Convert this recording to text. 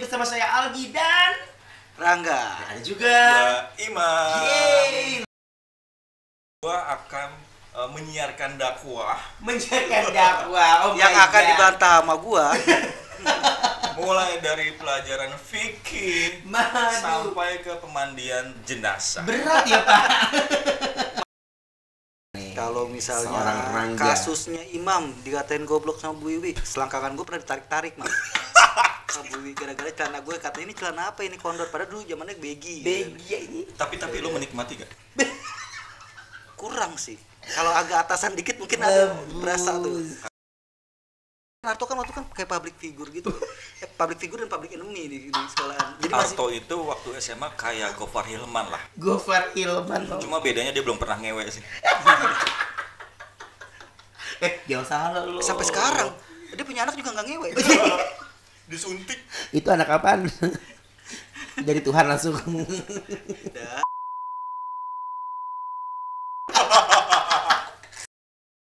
bersama saya Algi dan Rangga. ada juga. Gua Imam. Yeay, Gua akan eh, menyiarkan dakwah menjaga dakwah. Oh yang my akan God. dibantah sama gua. mulai dari pelajaran fikih Madu. sampai ke pemandian jenazah. Berat ya Pak. Kalau misalnya Seorang Rangga. kasusnya Imam dikatain goblok sama Bu Wiwi, selangkangan gua pernah ditarik-tarik, Mas. Sama Bu Wiwi gara-gara celana gue kata ini celana apa ini kondor padahal dulu zamannya begi. Begia ini. Tapi tapi lu menikmati gak? Kurang sih. Kalau agak atasan dikit mungkin ada Bagus. berasa tuh. Harto kan waktu kan kayak public figure gitu. Eh, public figure dan public enemy di, di sekolahan. Jadi masih Arto itu waktu SMA kayak Gofar Hilman lah. Gofar Ilman loh. Cuma bedanya dia belum pernah ngewe sih. Eh, jangan salah lo. sampai sekarang dia punya anak juga nggak ngewe. Disuntik. Itu anak apaan? Dari Tuhan langsung.